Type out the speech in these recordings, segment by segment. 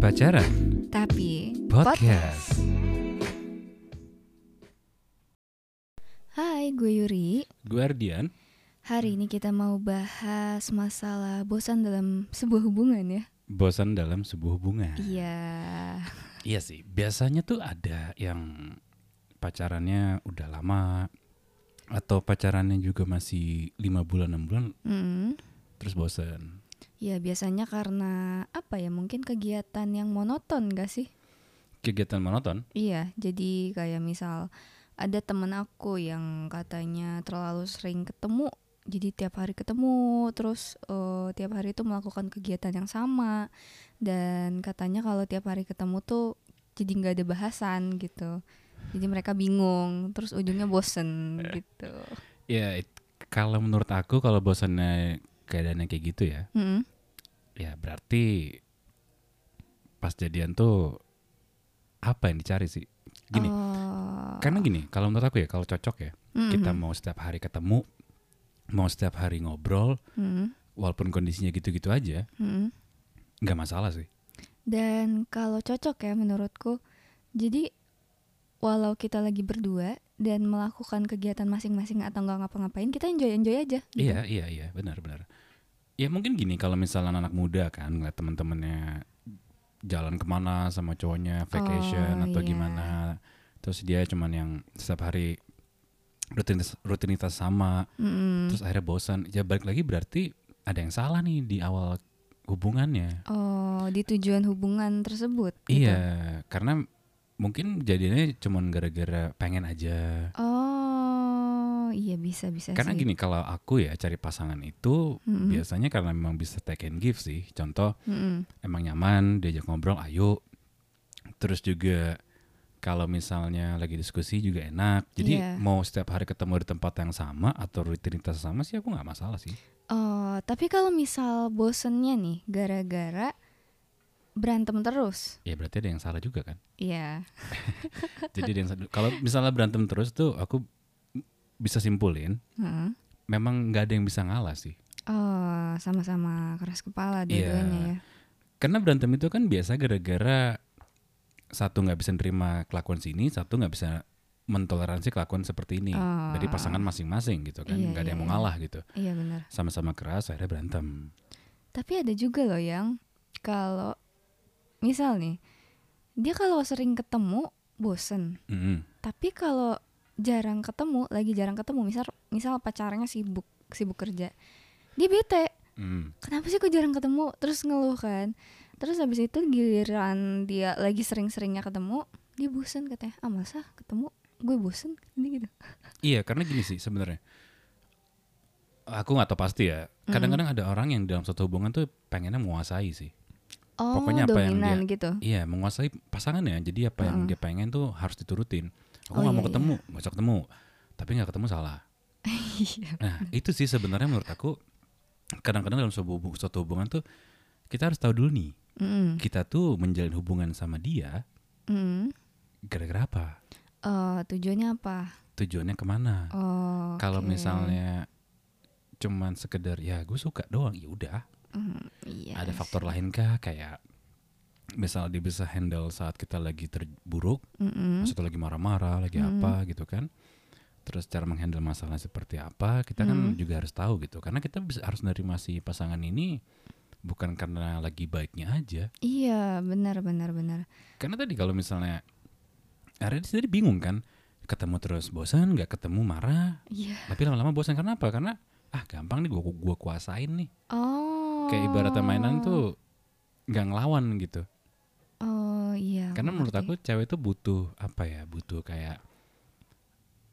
Pacaran Tapi Podcast Hai, gue Yuri. Guardian. Hari ini kita mau bahas masalah bosan dalam sebuah hubungan ya. Bosan dalam sebuah hubungan. Iya. Iya sih. Biasanya tuh ada yang pacarannya udah lama atau pacarannya juga masih lima bulan enam bulan Mm. terus bosan. Ya biasanya karena apa ya? Mungkin kegiatan yang monoton gak sih? Kegiatan monoton. Iya, jadi kayak misal ada temen aku yang katanya terlalu sering ketemu, jadi tiap hari ketemu, terus eh, tiap hari itu melakukan kegiatan yang sama, dan katanya kalau tiap hari ketemu tuh jadi nggak ada bahasan gitu, jadi mereka bingung, terus ujungnya bosen Eh. gitu. Ya it- kalau menurut aku kalau bosannya keadaannya kayak gitu ya, Mm-mm. ya berarti pas jadian tuh apa yang dicari sih? Gini. Oh, Karena gini, kalau menurut aku ya kalau cocok ya, mm-mm, kita mau setiap hari ketemu, mau setiap hari ngobrol, mm-mm, walaupun kondisinya gitu-gitu aja mm-mm. nggak masalah sih Dan kalau cocok ya menurutku, jadi walau kita lagi berdua dan melakukan kegiatan masing-masing atau nggak ngapa-ngapain, kita enjoy-enjoy aja. gitu. iya iya iya benar-benar ya mungkin gini kalau misalnya anak muda kan ngeliat teman-temannya jalan kemana sama cowoknya vacation Oh, atau iya. gimana terus dia cuman yang setiap hari rutinitas rutinitas sama Mm-mm. terus akhirnya bosan ya balik lagi berarti ada yang salah nih di awal hubungannya Oh, di tujuan hubungan tersebut. gitu. iya karena mungkin jadinya cuman gara-gara pengen aja Oh, iya bisa bisa. Karena Iya sih. gini kalau aku ya cari pasangan itu Mm-mm. biasanya karena memang bisa take and give sih. Contoh Mm-mm. emang nyaman diajak ngobrol ayo. Terus juga kalau misalnya lagi diskusi juga enak. Jadi Iya. mau setiap hari ketemu di tempat yang sama atau rutinitas sama sih aku nggak masalah sih. Oh, tapi kalau misal bosennya nih gara-gara berantem terus, Ya berarti ada yang salah juga kan. ya. Jadi ada yang salah. kalau misalnya berantem terus tuh aku bisa simpulin Heeh. memang nggak ada yang bisa ngalah sih. Oh, sama-sama keras Iya, kepala dua-duanya ya. Karena berantem itu kan biasa gara-gara satu nggak bisa nerima kelakuan sini, satu nggak bisa mentoleransi kelakuan seperti ini Ah. iya. dari pasangan masing-masing gitu kan, Iya, nggak ada yang iya, mau ngalah gitu, Iya benar. sama-sama keras akhirnya berantem. Tapi ada juga loh yang kalau misal nih dia kalau sering ketemu bosen, Mm-mm. tapi kalau jarang ketemu, lagi jarang ketemu, misal misal pacarnya sibuk sibuk kerja, dia bete. Mm. Kenapa sih kok jarang ketemu? Terus ngeluh kan. Terus habis itu giliran dia lagi sering-seringnya ketemu, dia bosen katanya. Ah masa ketemu? Gue bosen ini gitu. Iya karena gini sih sebenarnya, aku nggak tahu pasti ya. Kadang-kadang Mm. ada orang yang dalam satu hubungan tuh pengennya menguasai sih. Oh, Pokoknya apa yang dominan gitu. Iya menguasai pasangannya, jadi apa yang dia pengen tuh harus diturutin. Aku Oh, nggak iya, mau ketemu, nggak usah ketemu, tapi nggak ketemu salah. Iya. Nah, itu sih sebenarnya menurut aku kadang-kadang dalam sebuah hubung- suatu hubungan tuh kita harus tahu dulu nih, Mm-mm. kita tuh menjalin hubungan sama dia Mm. gara-gara apa? Eh, tujuannya apa? Tujuannya kemana? Oh. Kalau oke. misalnya cuman sekedar ya gue suka doang, ya udah. Mm, iya Ada faktor lain kah kayak misal dia bisa handle saat kita lagi terburuk, Mm-mm. maksudnya lagi marah-marah, lagi Hmm. apa gitu kan? Terus cara menghandle masalah seperti apa, kita kan Hmm. juga harus tahu gitu. Karena kita bisa harus nerima si pasangan ini bukan karena lagi baiknya aja. Iya, benar benar benar. Karena tadi kalau misalnya akhirnya dia sendiri bingung kan, ketemu terus bosan, nggak ketemu marah, Iya. tapi lama-lama bosan karena apa? Karena ah gampang nih gua gua kuasain nih. Oh. Kayak ibaratnya mainan tuh nggak ngelawan gitu. Oh, iya. Karena menurut ngerti. aku cewek tuh butuh apa ya? Butuh kayak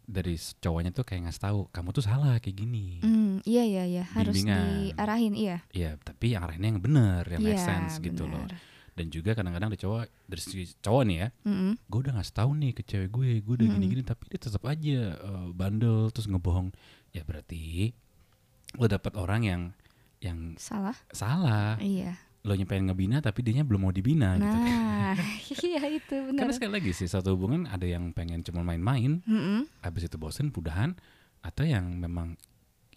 dari s- cowoknya tuh kayak ngasih tahu kamu tuh salah kayak gini. Mm, iya iya iya, harus Bimbingan. diarahin, iya. Iya, tapi yang arahnya yang bener, yang make Iya, sense gitu loh. benar. Dan juga kadang-kadang ada cowok dari segi cowok nih ya, Mm-mm. gue udah ngasih tahu nih ke cewek gue, gue udah Mm-mm. gini-gini tapi dia tetap aja eh, bandel terus ngebohong. Ya berarti lo dapet orang yang yang Salah? salah, Iya. lo pengen ngebina tapi dianya belum mau dibina Ah. gitu. kan. Nah, iya itu benar. Karena sekali lagi sih satu hubungan ada yang pengen cuma main-main, Mm-mm. habis itu bosen, mudahan atau yang memang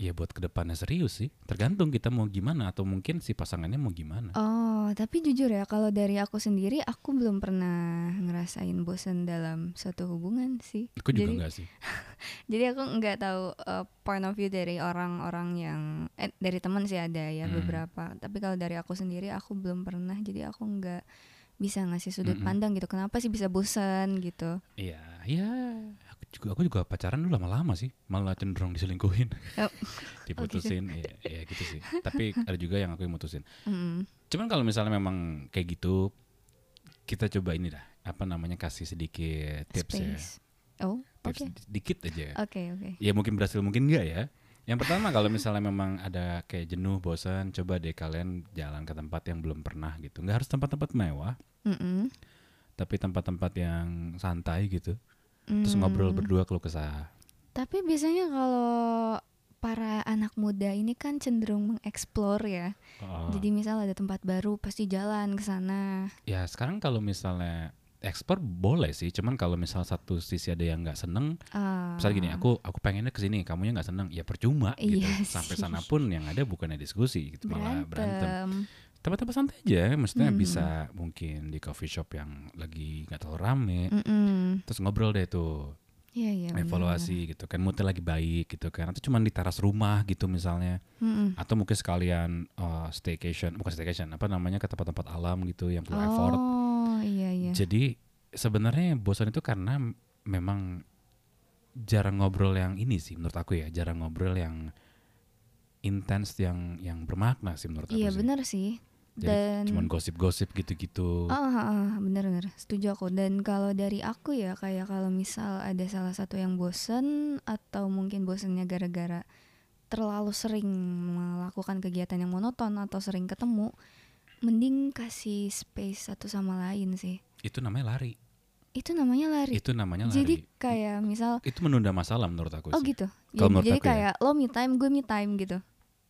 ya buat kedepannya serius sih. Tergantung kita mau gimana atau mungkin si pasangannya mau gimana. Oh, tapi jujur ya kalau dari aku sendiri aku belum pernah ngerasain bosan dalam suatu hubungan sih. Aku juga Jadi- enggak sih. Jadi aku nggak tahu uh, point of view dari orang-orang yang eh, dari teman sih ada ya Hmm. beberapa. Tapi kalau dari aku sendiri aku belum pernah. Jadi aku nggak bisa ngasih sudut Mm-mm. pandang gitu. Kenapa sih bisa bosan gitu? Iya, ya aku juga aku juga pacaran dulu lama-lama sih, malah cenderung diselingkuhin. Oh. Diputusin, ya, ya gitu sih. Tapi ada juga yang aku yang mutusin. Mm. Cuman kalau misalnya memang kayak gitu, kita coba ini dah, apa namanya kasih sedikit tips ya. Space. Oh, Tips ya. oke. sedikit aja. Oke, oke. Ya mungkin berhasil mungkin enggak ya. Yang pertama kalau misalnya memang ada kayak jenuh, bosan, coba deh kalian jalan ke tempat yang belum pernah gitu. Nggak harus tempat-tempat mewah, Mm-mm. tapi tempat-tempat yang santai gitu. Terus ngobrol Mm. berdua keluh kesah. Tapi biasanya kalau para anak muda ini kan cenderung mengeksplor ya. Oh. Jadi misal ada tempat baru pasti jalan ke sana. Ya sekarang kalau misalnya ekspor boleh sih, cuman kalau misal satu sisi ada yang nggak seneng, Ah. misalnya gini, aku aku pengennya ke sini, kamunya nggak seneng, ya percuma gitu. Iya Sampai sih. sana pun yang ada bukannya diskusi, gitu, malah berantem. Iya. berantem. Tempat-tempat santai aja, maksudnya Hmm. bisa mungkin di coffee shop yang lagi nggak terlalu rame, Mm-mm. terus ngobrol deh tuh, Iya, Hmm. iya. benar. evaluasi gitu kan, moodnya lagi baik gitu kan, atau cuman di teras rumah gitu misalnya, Mm-mm. atau mungkin sekalian eh, staycation, bukan staycation, apa namanya ke tempat-tempat alam gitu yang perlu effort. Oh, iya iya. Jadi sebenarnya bosan itu karena m- memang jarang ngobrol yang ini sih menurut aku ya, jarang ngobrol yang intens yang yang bermakna sih menurut aku. Iya sih. benar sih. Jadi Dan Cuman gosip-gosip gitu-gitu. Ah, ah, ah, benar benar. Setuju aku. Dan kalau dari aku ya kayak kalau misal ada salah satu yang bosen atau mungkin bosennya gara-gara terlalu sering melakukan kegiatan yang monoton atau sering ketemu, mending kasih space satu sama lain sih. Itu namanya lari. Itu namanya lari. Itu namanya Jadi lari. kayak misal Itu menunda masalah menurut aku Oh sih. gitu. Kalau Jadi, menurut jadi aku ya. kayak lo me time, gue me time gitu.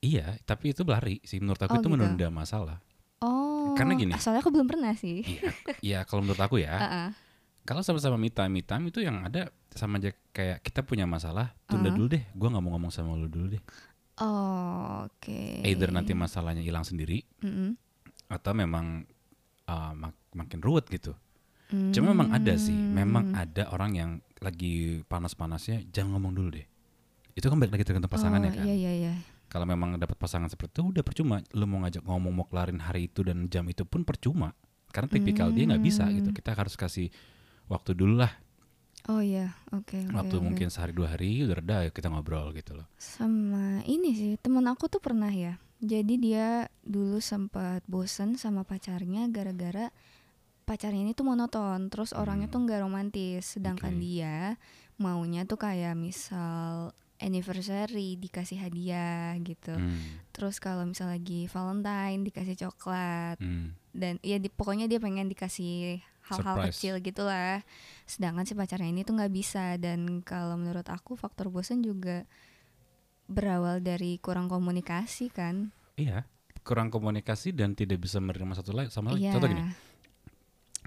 Iya, tapi itu lari sih menurut aku Oh, itu gitu. menunda masalah. Oh. Karena gini. Soalnya aku belum pernah sih. Iya, iya kalau menurut aku ya. Ah, ah. Kalau sama-sama me time, me time itu yang ada sama aja kayak kita punya masalah, tunda Ah. dulu deh. Gua nggak mau ngomong sama lu dulu deh. Oh, oke. Either nanti masalahnya hilang sendiri Mm-mm. atau memang uh, mak- makin ruwet gitu. Mm. Cuma memang ada sih, memang Hmm. ada orang yang lagi panas-panasnya jangan ngomong dulu deh. Itu kan balik lagi tergantung pasangannya Oh, kan. Iya iya iya. Kalau memang dapat pasangan seperti itu udah percuma. Lu mau ngajak ngomong mau kelarin hari itu dan jam itu pun percuma. Karena tipikal dia nggak bisa gitu. Hmm. Kita harus kasih waktu dulu lah. Oh iya, oke oke. waktu oke. mungkin sehari dua hari udah reda ayo kita ngobrol gitu loh. Sama ini sih, teman aku tuh pernah ya. Jadi dia dulu sempat bosen sama pacarnya gara-gara pacarnya ini tuh monoton, terus orangnya Hmm. tuh nggak romantis. Sedangkan Oke. dia maunya tuh kayak misal anniversary dikasih hadiah gitu. Hmm, Terus kalau misal lagi Valentine dikasih coklat. hmm. dan ya di, pokoknya dia pengen dikasih hal-hal Surprise. kecil gitulah sedangkan si pacarnya ini tuh nggak bisa dan kalau menurut aku faktor bosen juga berawal dari kurang komunikasi kan Iya, kurang komunikasi dan tidak bisa menerima satu lain sama lain. iya Oh, Contoh gini,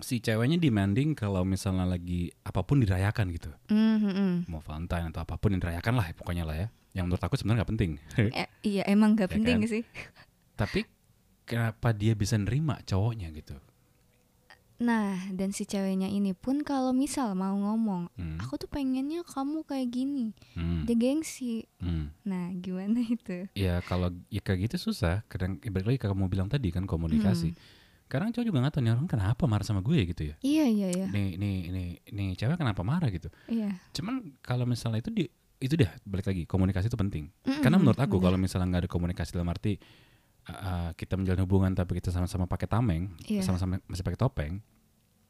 si ceweknya demanding kalau misalnya lagi apapun dirayakan gitu Mm, mm, mm. mau Valentine atau apapun yang dirayakan lah pokoknya lah ya yang menurut aku sebenarnya nggak penting Eh, iya emang nggak Ya penting kan? sih tapi kenapa dia bisa nerima cowoknya gitu nah dan si ceweknya ini pun kalau misal mau ngomong Hmm, aku tuh pengennya kamu kayak gini hmm, dia gengsi hmm. nah gimana itu ya kalau ya kayak gitu susah kadang ya balik lagi ke kamu bilang tadi kan Hmm. komunikasi kadang cowok juga nggak tahu nih orang kenapa marah sama gue gitu ya iya iya iya nih nih nih nih cewek kenapa marah gitu iya cuman kalau misalnya itu di itu dah balik lagi komunikasi itu penting Mm, Karena mm, menurut aku bener. kalau misalnya nggak ada komunikasi dalam arti uh, uh, kita menjalin hubungan tapi kita sama-sama pakai tameng, Iya. sama-sama masih pakai topeng,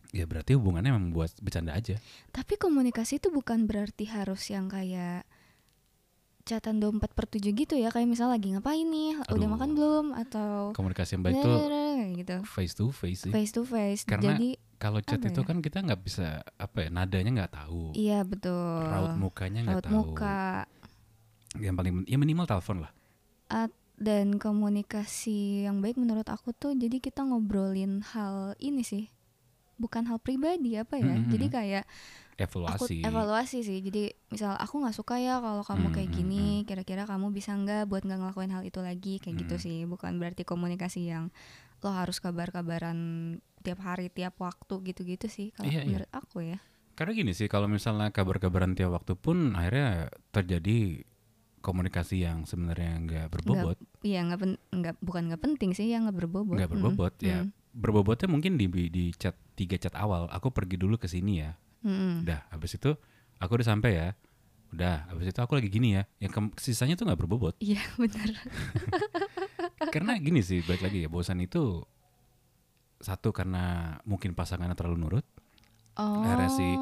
ya berarti hubungannya memang buat bercanda aja. Tapi komunikasi itu bukan berarti harus yang kayak catatan dompet per tujuh gitu ya kayak misal lagi ngapain nih udah Aduh. makan belum atau Komunikasi yang baik itu gitu face to face sih. Oh. face to face Karena- jadi Kalau chat Apa itu ya? kan kita nggak bisa apa ya nadanya nggak tahu, iya betul raut mukanya nggak Raut tahu. muka Yang paling penting- ya minimal telepon lah. dan komunikasi yang baik menurut aku tuh jadi kita ngobrolin hal ini sih bukan hal pribadi apa ya Mm, mm, jadi mm. kayak aku evaluasi. evaluasi sih jadi misal aku nggak suka ya kalau kamu Hmm, kayak hmm, gini kira-kira kamu bisa nggak buat nggak ngelakuin hal itu lagi kayak gitu Hmm. sih bukan berarti komunikasi yang lo harus kabar-kabaran tiap hari tiap waktu gitu-gitu sih kalau Iya, iya. menurut aku ya Karena gini sih, kalau misalnya kabar-kabaran tiap waktu pun akhirnya terjadi komunikasi yang sebenarnya nggak berbobot, iya nggak pen- nggak bukan nggak penting sih yang nggak berbobot nggak Mm, berbobot ya. mm, Berbobotnya mungkin di di chat tiga chat awal, aku pergi dulu ke sini ya. mm, mm. Udah, habis itu aku udah sampai ya. Udah, habis itu aku lagi gini ya. Yang kem- sisanya tuh nggak berbobot. iya benar karena gini sih, balik lagi ya, bosan itu satu karena mungkin pasangannya terlalu nurut, oh Akhirnya sih,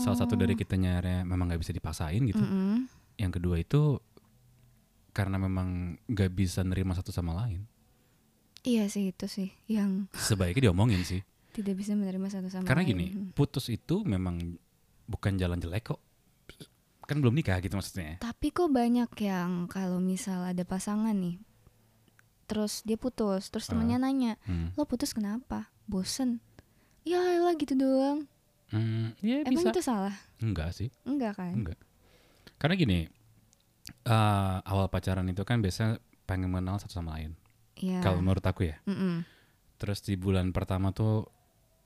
salah satu dari kitanya akhirnya memang nggak bisa dipaksain gitu. Oh. Mm-mm. Yang kedua itu karena memang nggak bisa nerima satu sama lain. iya sih itu sih yang Sebaiknya diomongin sih. tidak bisa menerima satu sama Karena lain. gini, Mm. putus itu memang bukan jalan jelek kok. Kan belum nikah gitu maksudnya. Tapi kok banyak yang kalau misal ada pasangan nih, terus dia putus, terus temannya nanya, Hmm. lo putus kenapa? Bosen? Ya lah gitu doang. Hmm, ya Emang bisa. itu salah? Enggak sih, Enggak kan? enggak. Karena gini, eh, awal pacaran itu kan biasanya pengen mengenal satu sama lain. Iya. Kalau menurut aku ya. Mm-mm. Terus di bulan pertama tuh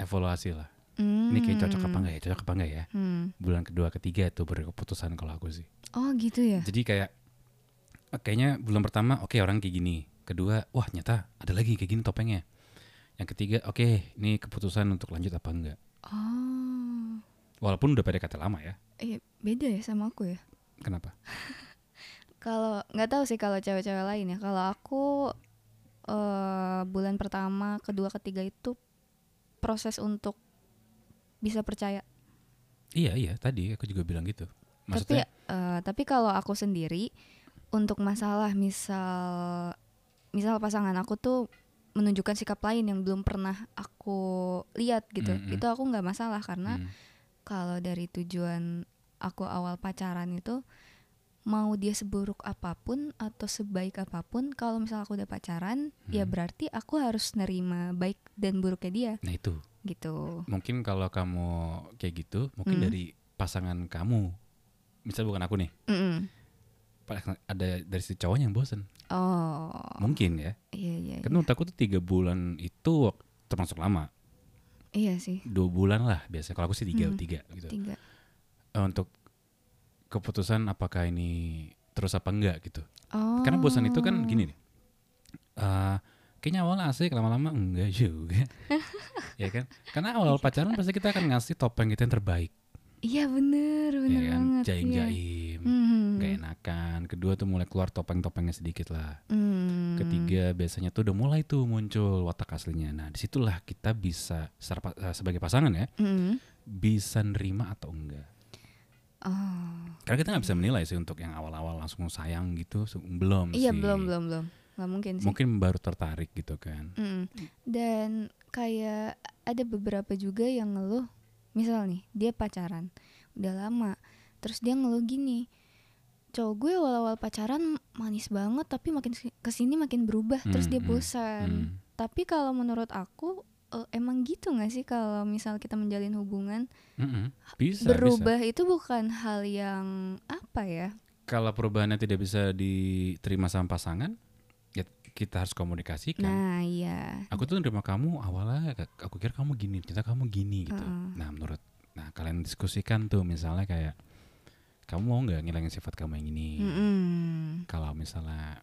evaluasi lah. Ini kayak Mm. cocok apa enggak ya? Cocok apa enggak ya? Hmm. Bulan kedua, ketiga itu baru keputusan kalau aku sih. Oh gitu ya? Jadi kayak eh, kayaknya bulan pertama oke orang kayak gini. Kedua, wah nyata ada lagi kayak gini topengnya. Yang ketiga, oke ini keputusan untuk lanjut apa enggak. Oh, Walaupun udah PDKT lama ya. iya beda ya sama aku ya. Kenapa? Kalau nggak tahu sih kalau cewek-cewek lain ya. Kalau aku eh bulan pertama, kedua, ketiga itu proses untuk bisa percaya Iya, iya, tadi aku juga bilang gitu. tapi Maksudnya eh, tapi kalau aku sendiri untuk masalah misal misal pasangan aku tuh menunjukkan sikap lain yang belum pernah aku lihat gitu Mm-mm. itu aku nggak masalah karena hmm, kalau dari tujuan aku awal pacaran itu mau dia seburuk apapun atau sebaik apapun kalau misal aku udah pacaran ya Hmm. berarti aku harus nerima baik dan buruknya dia nah itu. gitu Mungkin kalau kamu kayak gitu, mungkin Mm. dari pasangan kamu misal bukan aku nih, Mm-mm. pas- ada dari si cowoknya yang bosen oh mungkin ya iya iya kan menurut aku tuh tiga bulan itu wak- termasuk lama iya sih dua bulan lah biasanya kalau aku sih tiga Hmm. tiga gitu tiga Eh, untuk keputusan apakah ini terus apa enggak gitu. Oh. Karena bosan itu kan gini nih. Eh, kayaknya awal asik lama-lama enggak juga. ya kan? Karena awal pacaran pasti kita akan ngasih topeng kita yang terbaik, Iya bener, ya bener kan? banget. iya. Jaim-jaim, Hmm. enggak enakan. Kedua tuh mulai keluar topeng-topengnya sedikit lah. Hmm. Ketiga biasanya tuh udah mulai tuh muncul watak aslinya. Nah, disitulah kita bisa secara pa- eh, sebagai pasangan ya, Mm. bisa nerima atau enggak. Oh. Karena kita nggak bisa menilai sih untuk yang awal-awal langsung sayang gitu se- belum Iya sih. belum belum belum, nggak mungkin sih. Mungkin baru tertarik gitu kan. Mm-mm. Dan kayak ada beberapa juga yang ngeluh, misal nih dia pacaran udah lama, terus dia ngeluh gini, cowok gue awal-awal pacaran manis banget, tapi makin si- kesini makin berubah, terus dia Mm, mm, bosan. Hmm. Tapi kalau menurut aku eh, emang gitu nggak sih kalau misal kita menjalin hubungan Hmm. Mm-mm. Bisa bisa. berubah itu bukan hal yang apa ya Kalau perubahannya tidak bisa diterima sama pasangan, ya kita harus komunikasikan. nah iya Aku tuh nerima kamu awalnya k- aku kira kamu gini, ternyata kamu gini gitu. Heeh. Nah, menurut nah kalian diskusikan tuh misalnya kayak kamu mau nggak ngilangin sifat kamu yang ini? Mm-mm. Kalau misalnya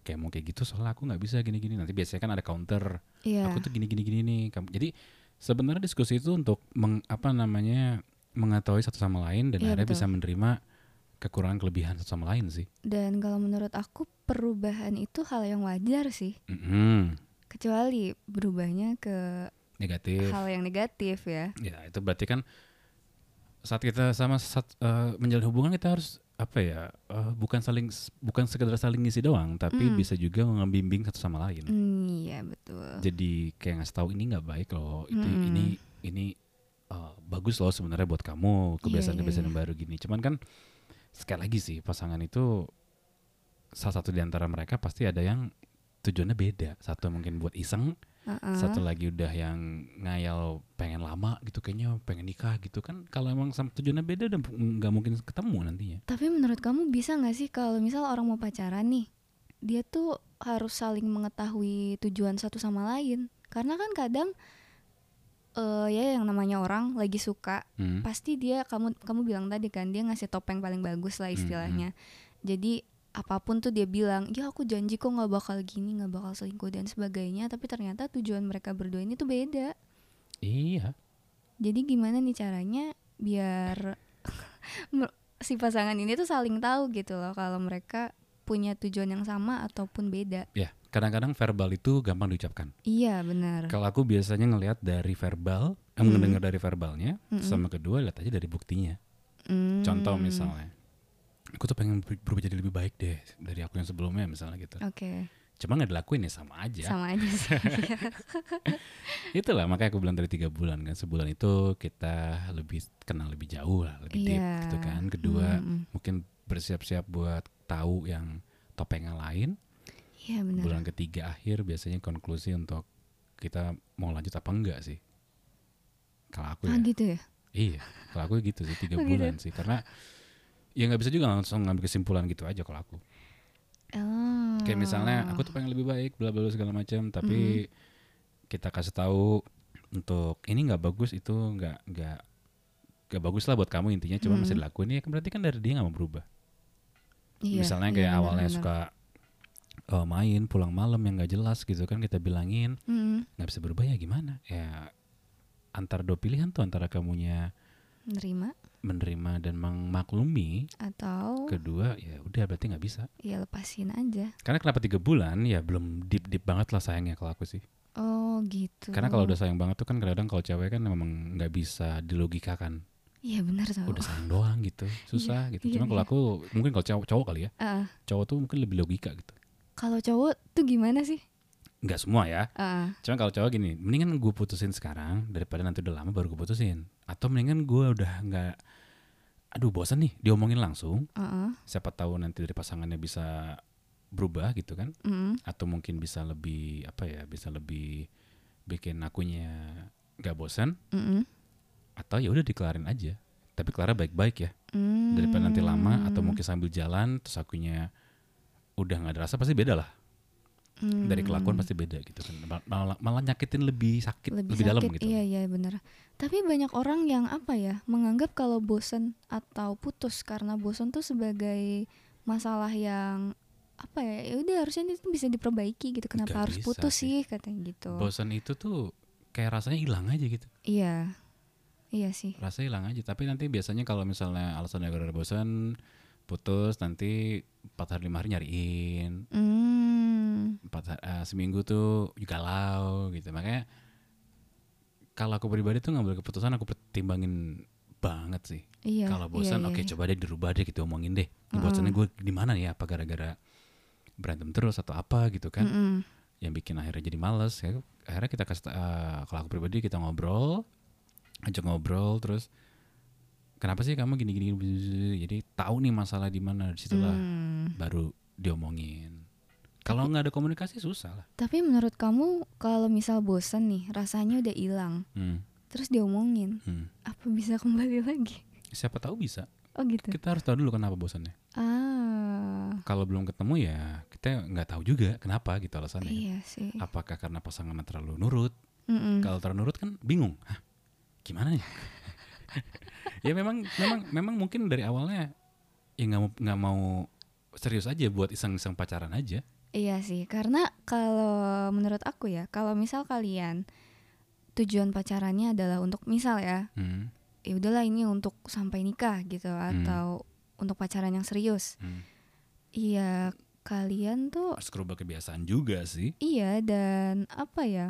kayak mau kayak gitu soalnya aku nggak bisa gini-gini nanti biasanya kan ada counter iya aku tuh gini gini gini nih kamu jadi sebenarnya diskusi itu untuk meng, apa namanya mengetahui satu sama lain dan Iya, akhirnya betul. bisa menerima kekurangan kelebihan satu sama lain sih dan kalau menurut aku perubahan itu hal yang wajar sih Mm-mm. kecuali berubahnya ke negatif hal yang negatif ya ya itu berarti kan saat kita sama saat, eh, menjalin hubungan kita harus apa ya eh, bukan saling bukan sekedar saling ngisi doang tapi Mm. bisa juga membimbing satu sama lain Mm, iya betul jadi kayak ngasih tahu ini nggak baik loh itu Mm-mm. ini ini uh, bagus loh sebenarnya buat kamu kebiasaan-kebiasaan iya, yang baru gini cuman kan sekali lagi sih pasangan itu salah satu di antara mereka pasti ada yang tujuannya beda satu mungkin buat iseng Heeh. satu lagi udah yang ngayal pengen lama gitu kayaknya pengen nikah gitu kan kalau emang sama tujuannya beda dan nggak mungkin ketemu nantinya Tapi menurut kamu bisa nggak sih kalau misal orang mau pacaran nih, dia tuh harus saling mengetahui tujuan satu sama lain. Karena kan kadang eh ya yang namanya orang lagi suka, Hmm. pasti dia kamu kamu bilang tadi kan dia ngasih topeng paling bagus lah Hmm, istilahnya. Jadi apapun tuh dia bilang, "Ya aku janji kok nggak bakal gini, nggak bakal selingkuh dan sebagainya." Tapi ternyata tujuan mereka berdua ini tuh beda. iya Jadi gimana nih caranya biar mer- si pasangan ini tuh saling tahu gitu loh kalau mereka punya tujuan yang sama ataupun beda. ya kadang-kadang verbal itu gampang diucapkan Iya benar. kalau aku biasanya ngelihat dari verbal eh, Hmm. mendengar dari verbalnya Mm-mm. sama kedua lihat aja dari buktinya Hmm. contoh misalnya aku tuh pengen ber- berubah jadi lebih baik deh dari aku yang sebelumnya misalnya gitu Oke, cuma nggak dilakuin ya sama aja Iya. sama aja sih. Itulah makanya aku bilang dari tiga bulan kan sebulan itu kita lebih kenal lebih jauh lah lebih Iya. Hmm. deep gitu kan kedua Mm-mm. mungkin bersiap-siap buat tahu yang topeng yang lain Iya benar. bulan ketiga akhir biasanya konklusi untuk kita mau lanjut apa enggak sih kalau aku Ah ya gitu ya. iya kalau aku gitu sih tiga Oh, gitu. bulan sih karena ya nggak bisa juga langsung ngambil kesimpulan gitu aja kalau aku Oh. kayak misalnya aku tuh pengen lebih baik bla bla bla segala macam tapi Hmm. kita kasih tahu untuk ini nggak bagus itu nggak nggak nggak bagus lah buat kamu intinya cuma Mm. masih dilakuin ya kan berarti kan dari dia nggak mau berubah Iya, misalnya iya, kayak benar, awalnya benar. suka eh, main pulang malam yang nggak jelas gitu kan kita bilangin Mm-mm. nggak bisa berubah ya gimana ya antara dua pilihan tuh antara kamunya nerima menerima dan memaklumi atau kedua ya udah berarti nggak bisa ya lepasin aja. karena kenapa tiga bulan ya belum deep deep banget lah sayangnya kalau aku sih Oh gitu. Karena kalau udah sayang banget tuh kan kadang-kadang kalau cewek kan memang nggak bisa dilogikakan. Iya benar tau. Udah sayang doang gitu, susah gitu. iya, Cuma kalau iya. aku mungkin kalau cowok, cowok kali ya, Ah, cowok tuh mungkin lebih logika gitu. kalau cowok tuh gimana sih? Nggak semua ya. Ah, Cuma kalau cowok gini, mendingan gue putusin sekarang daripada nanti udah lama baru gue putusin. Atau mendingan gue udah nggak, aduh bosan nih diomongin langsung. ah, ah, Siapa tahu nanti dari pasangannya bisa berubah gitu kan? mm. Atau mungkin bisa lebih apa ya? Bisa lebih bikin akunya nggak bosan. Mm-mm. atau ya udah dikelarin aja tapi Clara baik-baik ya Mm. daripada nanti lama atau mungkin sambil jalan terus akunya udah nggak ada rasa pasti beda lah Mm. dari kelakuan pasti beda gitu kan Mal- malah, malah nyakitin lebih sakit lebih, dalam sakit, gitu Iya iya benar. Tapi banyak orang yang apa ya menganggap kalau bosen atau putus karena bosen tuh sebagai masalah yang apa ya ya udah harusnya itu bisa diperbaiki gitu kenapa Nggak harus bisa putus sih. sih katanya gitu bosan itu tuh kayak rasanya hilang aja gitu iya iya sih rasanya hilang aja tapi nanti biasanya kalau misalnya alasannya gara-gara bosan putus nanti empat hari lima hari nyariin Hmm, empat ha- eh, seminggu tuh galau gitu makanya kalau aku pribadi tuh ngambil keputusan aku pertimbangin banget sih iya kalau iya, bosan iya, oke iya. coba deh dirubah deh kita omongin deh Ini bosannya gue di mana ya apa gara-gara berantem terus atau apa gitu kan Mm-mm. yang bikin akhirnya jadi males ya akhirnya kita kasih ta- eh, kalau aku pribadi kita ngobrol ajak ngobrol terus kenapa sih kamu gini-gini jadi tahu nih masalah di mana disitulah Hmm. baru diomongin kalau nggak ada komunikasi susah lah tapi menurut kamu kalau misal bosen nih rasanya udah hilang Hmm, terus diomongin hmm. apa bisa kembali lagi siapa tahu bisa oh gitu kita harus tahu dulu kenapa bosannya ah kalau belum ketemu ya kita nggak tahu juga kenapa gitu alasannya Iya Hmm. sih. apakah karena pasangannya terlalu nurut Mm-mm. kalau terlalu nurut kan bingung Hah, gimana ya ya memang memang memang mungkin dari awalnya ya nggak mau nggak mau serius aja buat iseng-iseng pacaran aja Iya sih, karena kalau menurut aku ya, kalau misal kalian tujuan pacarannya adalah untuk misal ya, Hmm, ya udahlah ini untuk sampai nikah gitu atau untuk pacaran yang serius. hmm. Iya, kalian tuh harus berubah kebiasaan juga sih iya dan apa ya?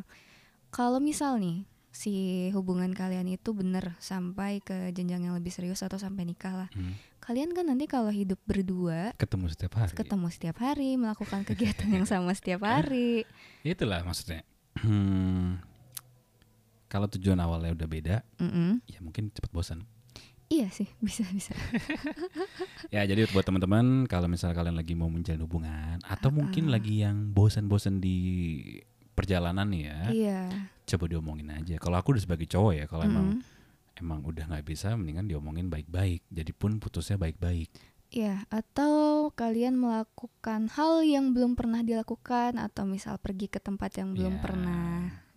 Kalau misal nih si hubungan kalian itu bener sampai ke jenjang yang lebih serius atau sampai nikah lah. Hmm. Kalian kan nanti kalau hidup berdua ketemu setiap hari ketemu setiap hari, melakukan kegiatan yang sama setiap hari. Ya itulah maksudnya Hmm, kalau tujuan awalnya udah beda Mm-mm. ya mungkin cepat bosan Iya sih, bisa bisa. Ya jadi buat teman-teman kalau misalnya kalian lagi mau menjalin hubungan atau mungkin lagi yang bosan-bosan di perjalanan nih ya Iya. coba diomongin aja kalau aku udah sebagai cowok ya kalau emang Mm-mm. emang udah nggak bisa mendingan diomongin baik-baik jadi pun putusnya baik-baik Iya, atau kalian melakukan hal yang belum pernah dilakukan atau misal pergi ke tempat yang belum Iya. pernah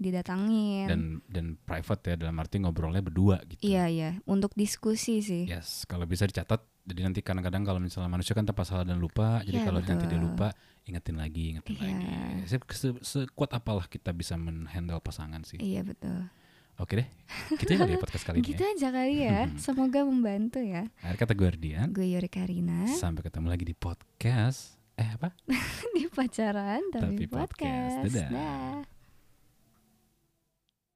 didatangin. dan dan private ya dalam arti ngobrolnya berdua gitu Iya, iya, untuk diskusi sih. yes kalau bisa dicatat jadi nanti kadang-kadang kalau misalnya manusia kan tanpa salah dan lupa jadi Iya, kalau nanti dia betul. lupa ingetin lagi ingetin Iya. lagi Se- se- sekuat apalah kita bisa menghandle pasangan sih Iya, betul. oke deh kita dari podcast kali ini Gitu ya. aja kali ya. Semoga membantu ya. akhir kata Guardian Gue Yori Karina sampai ketemu lagi di podcast eh apa di pacaran Tapi tapi, podcast. podcast. Dadah. Dah.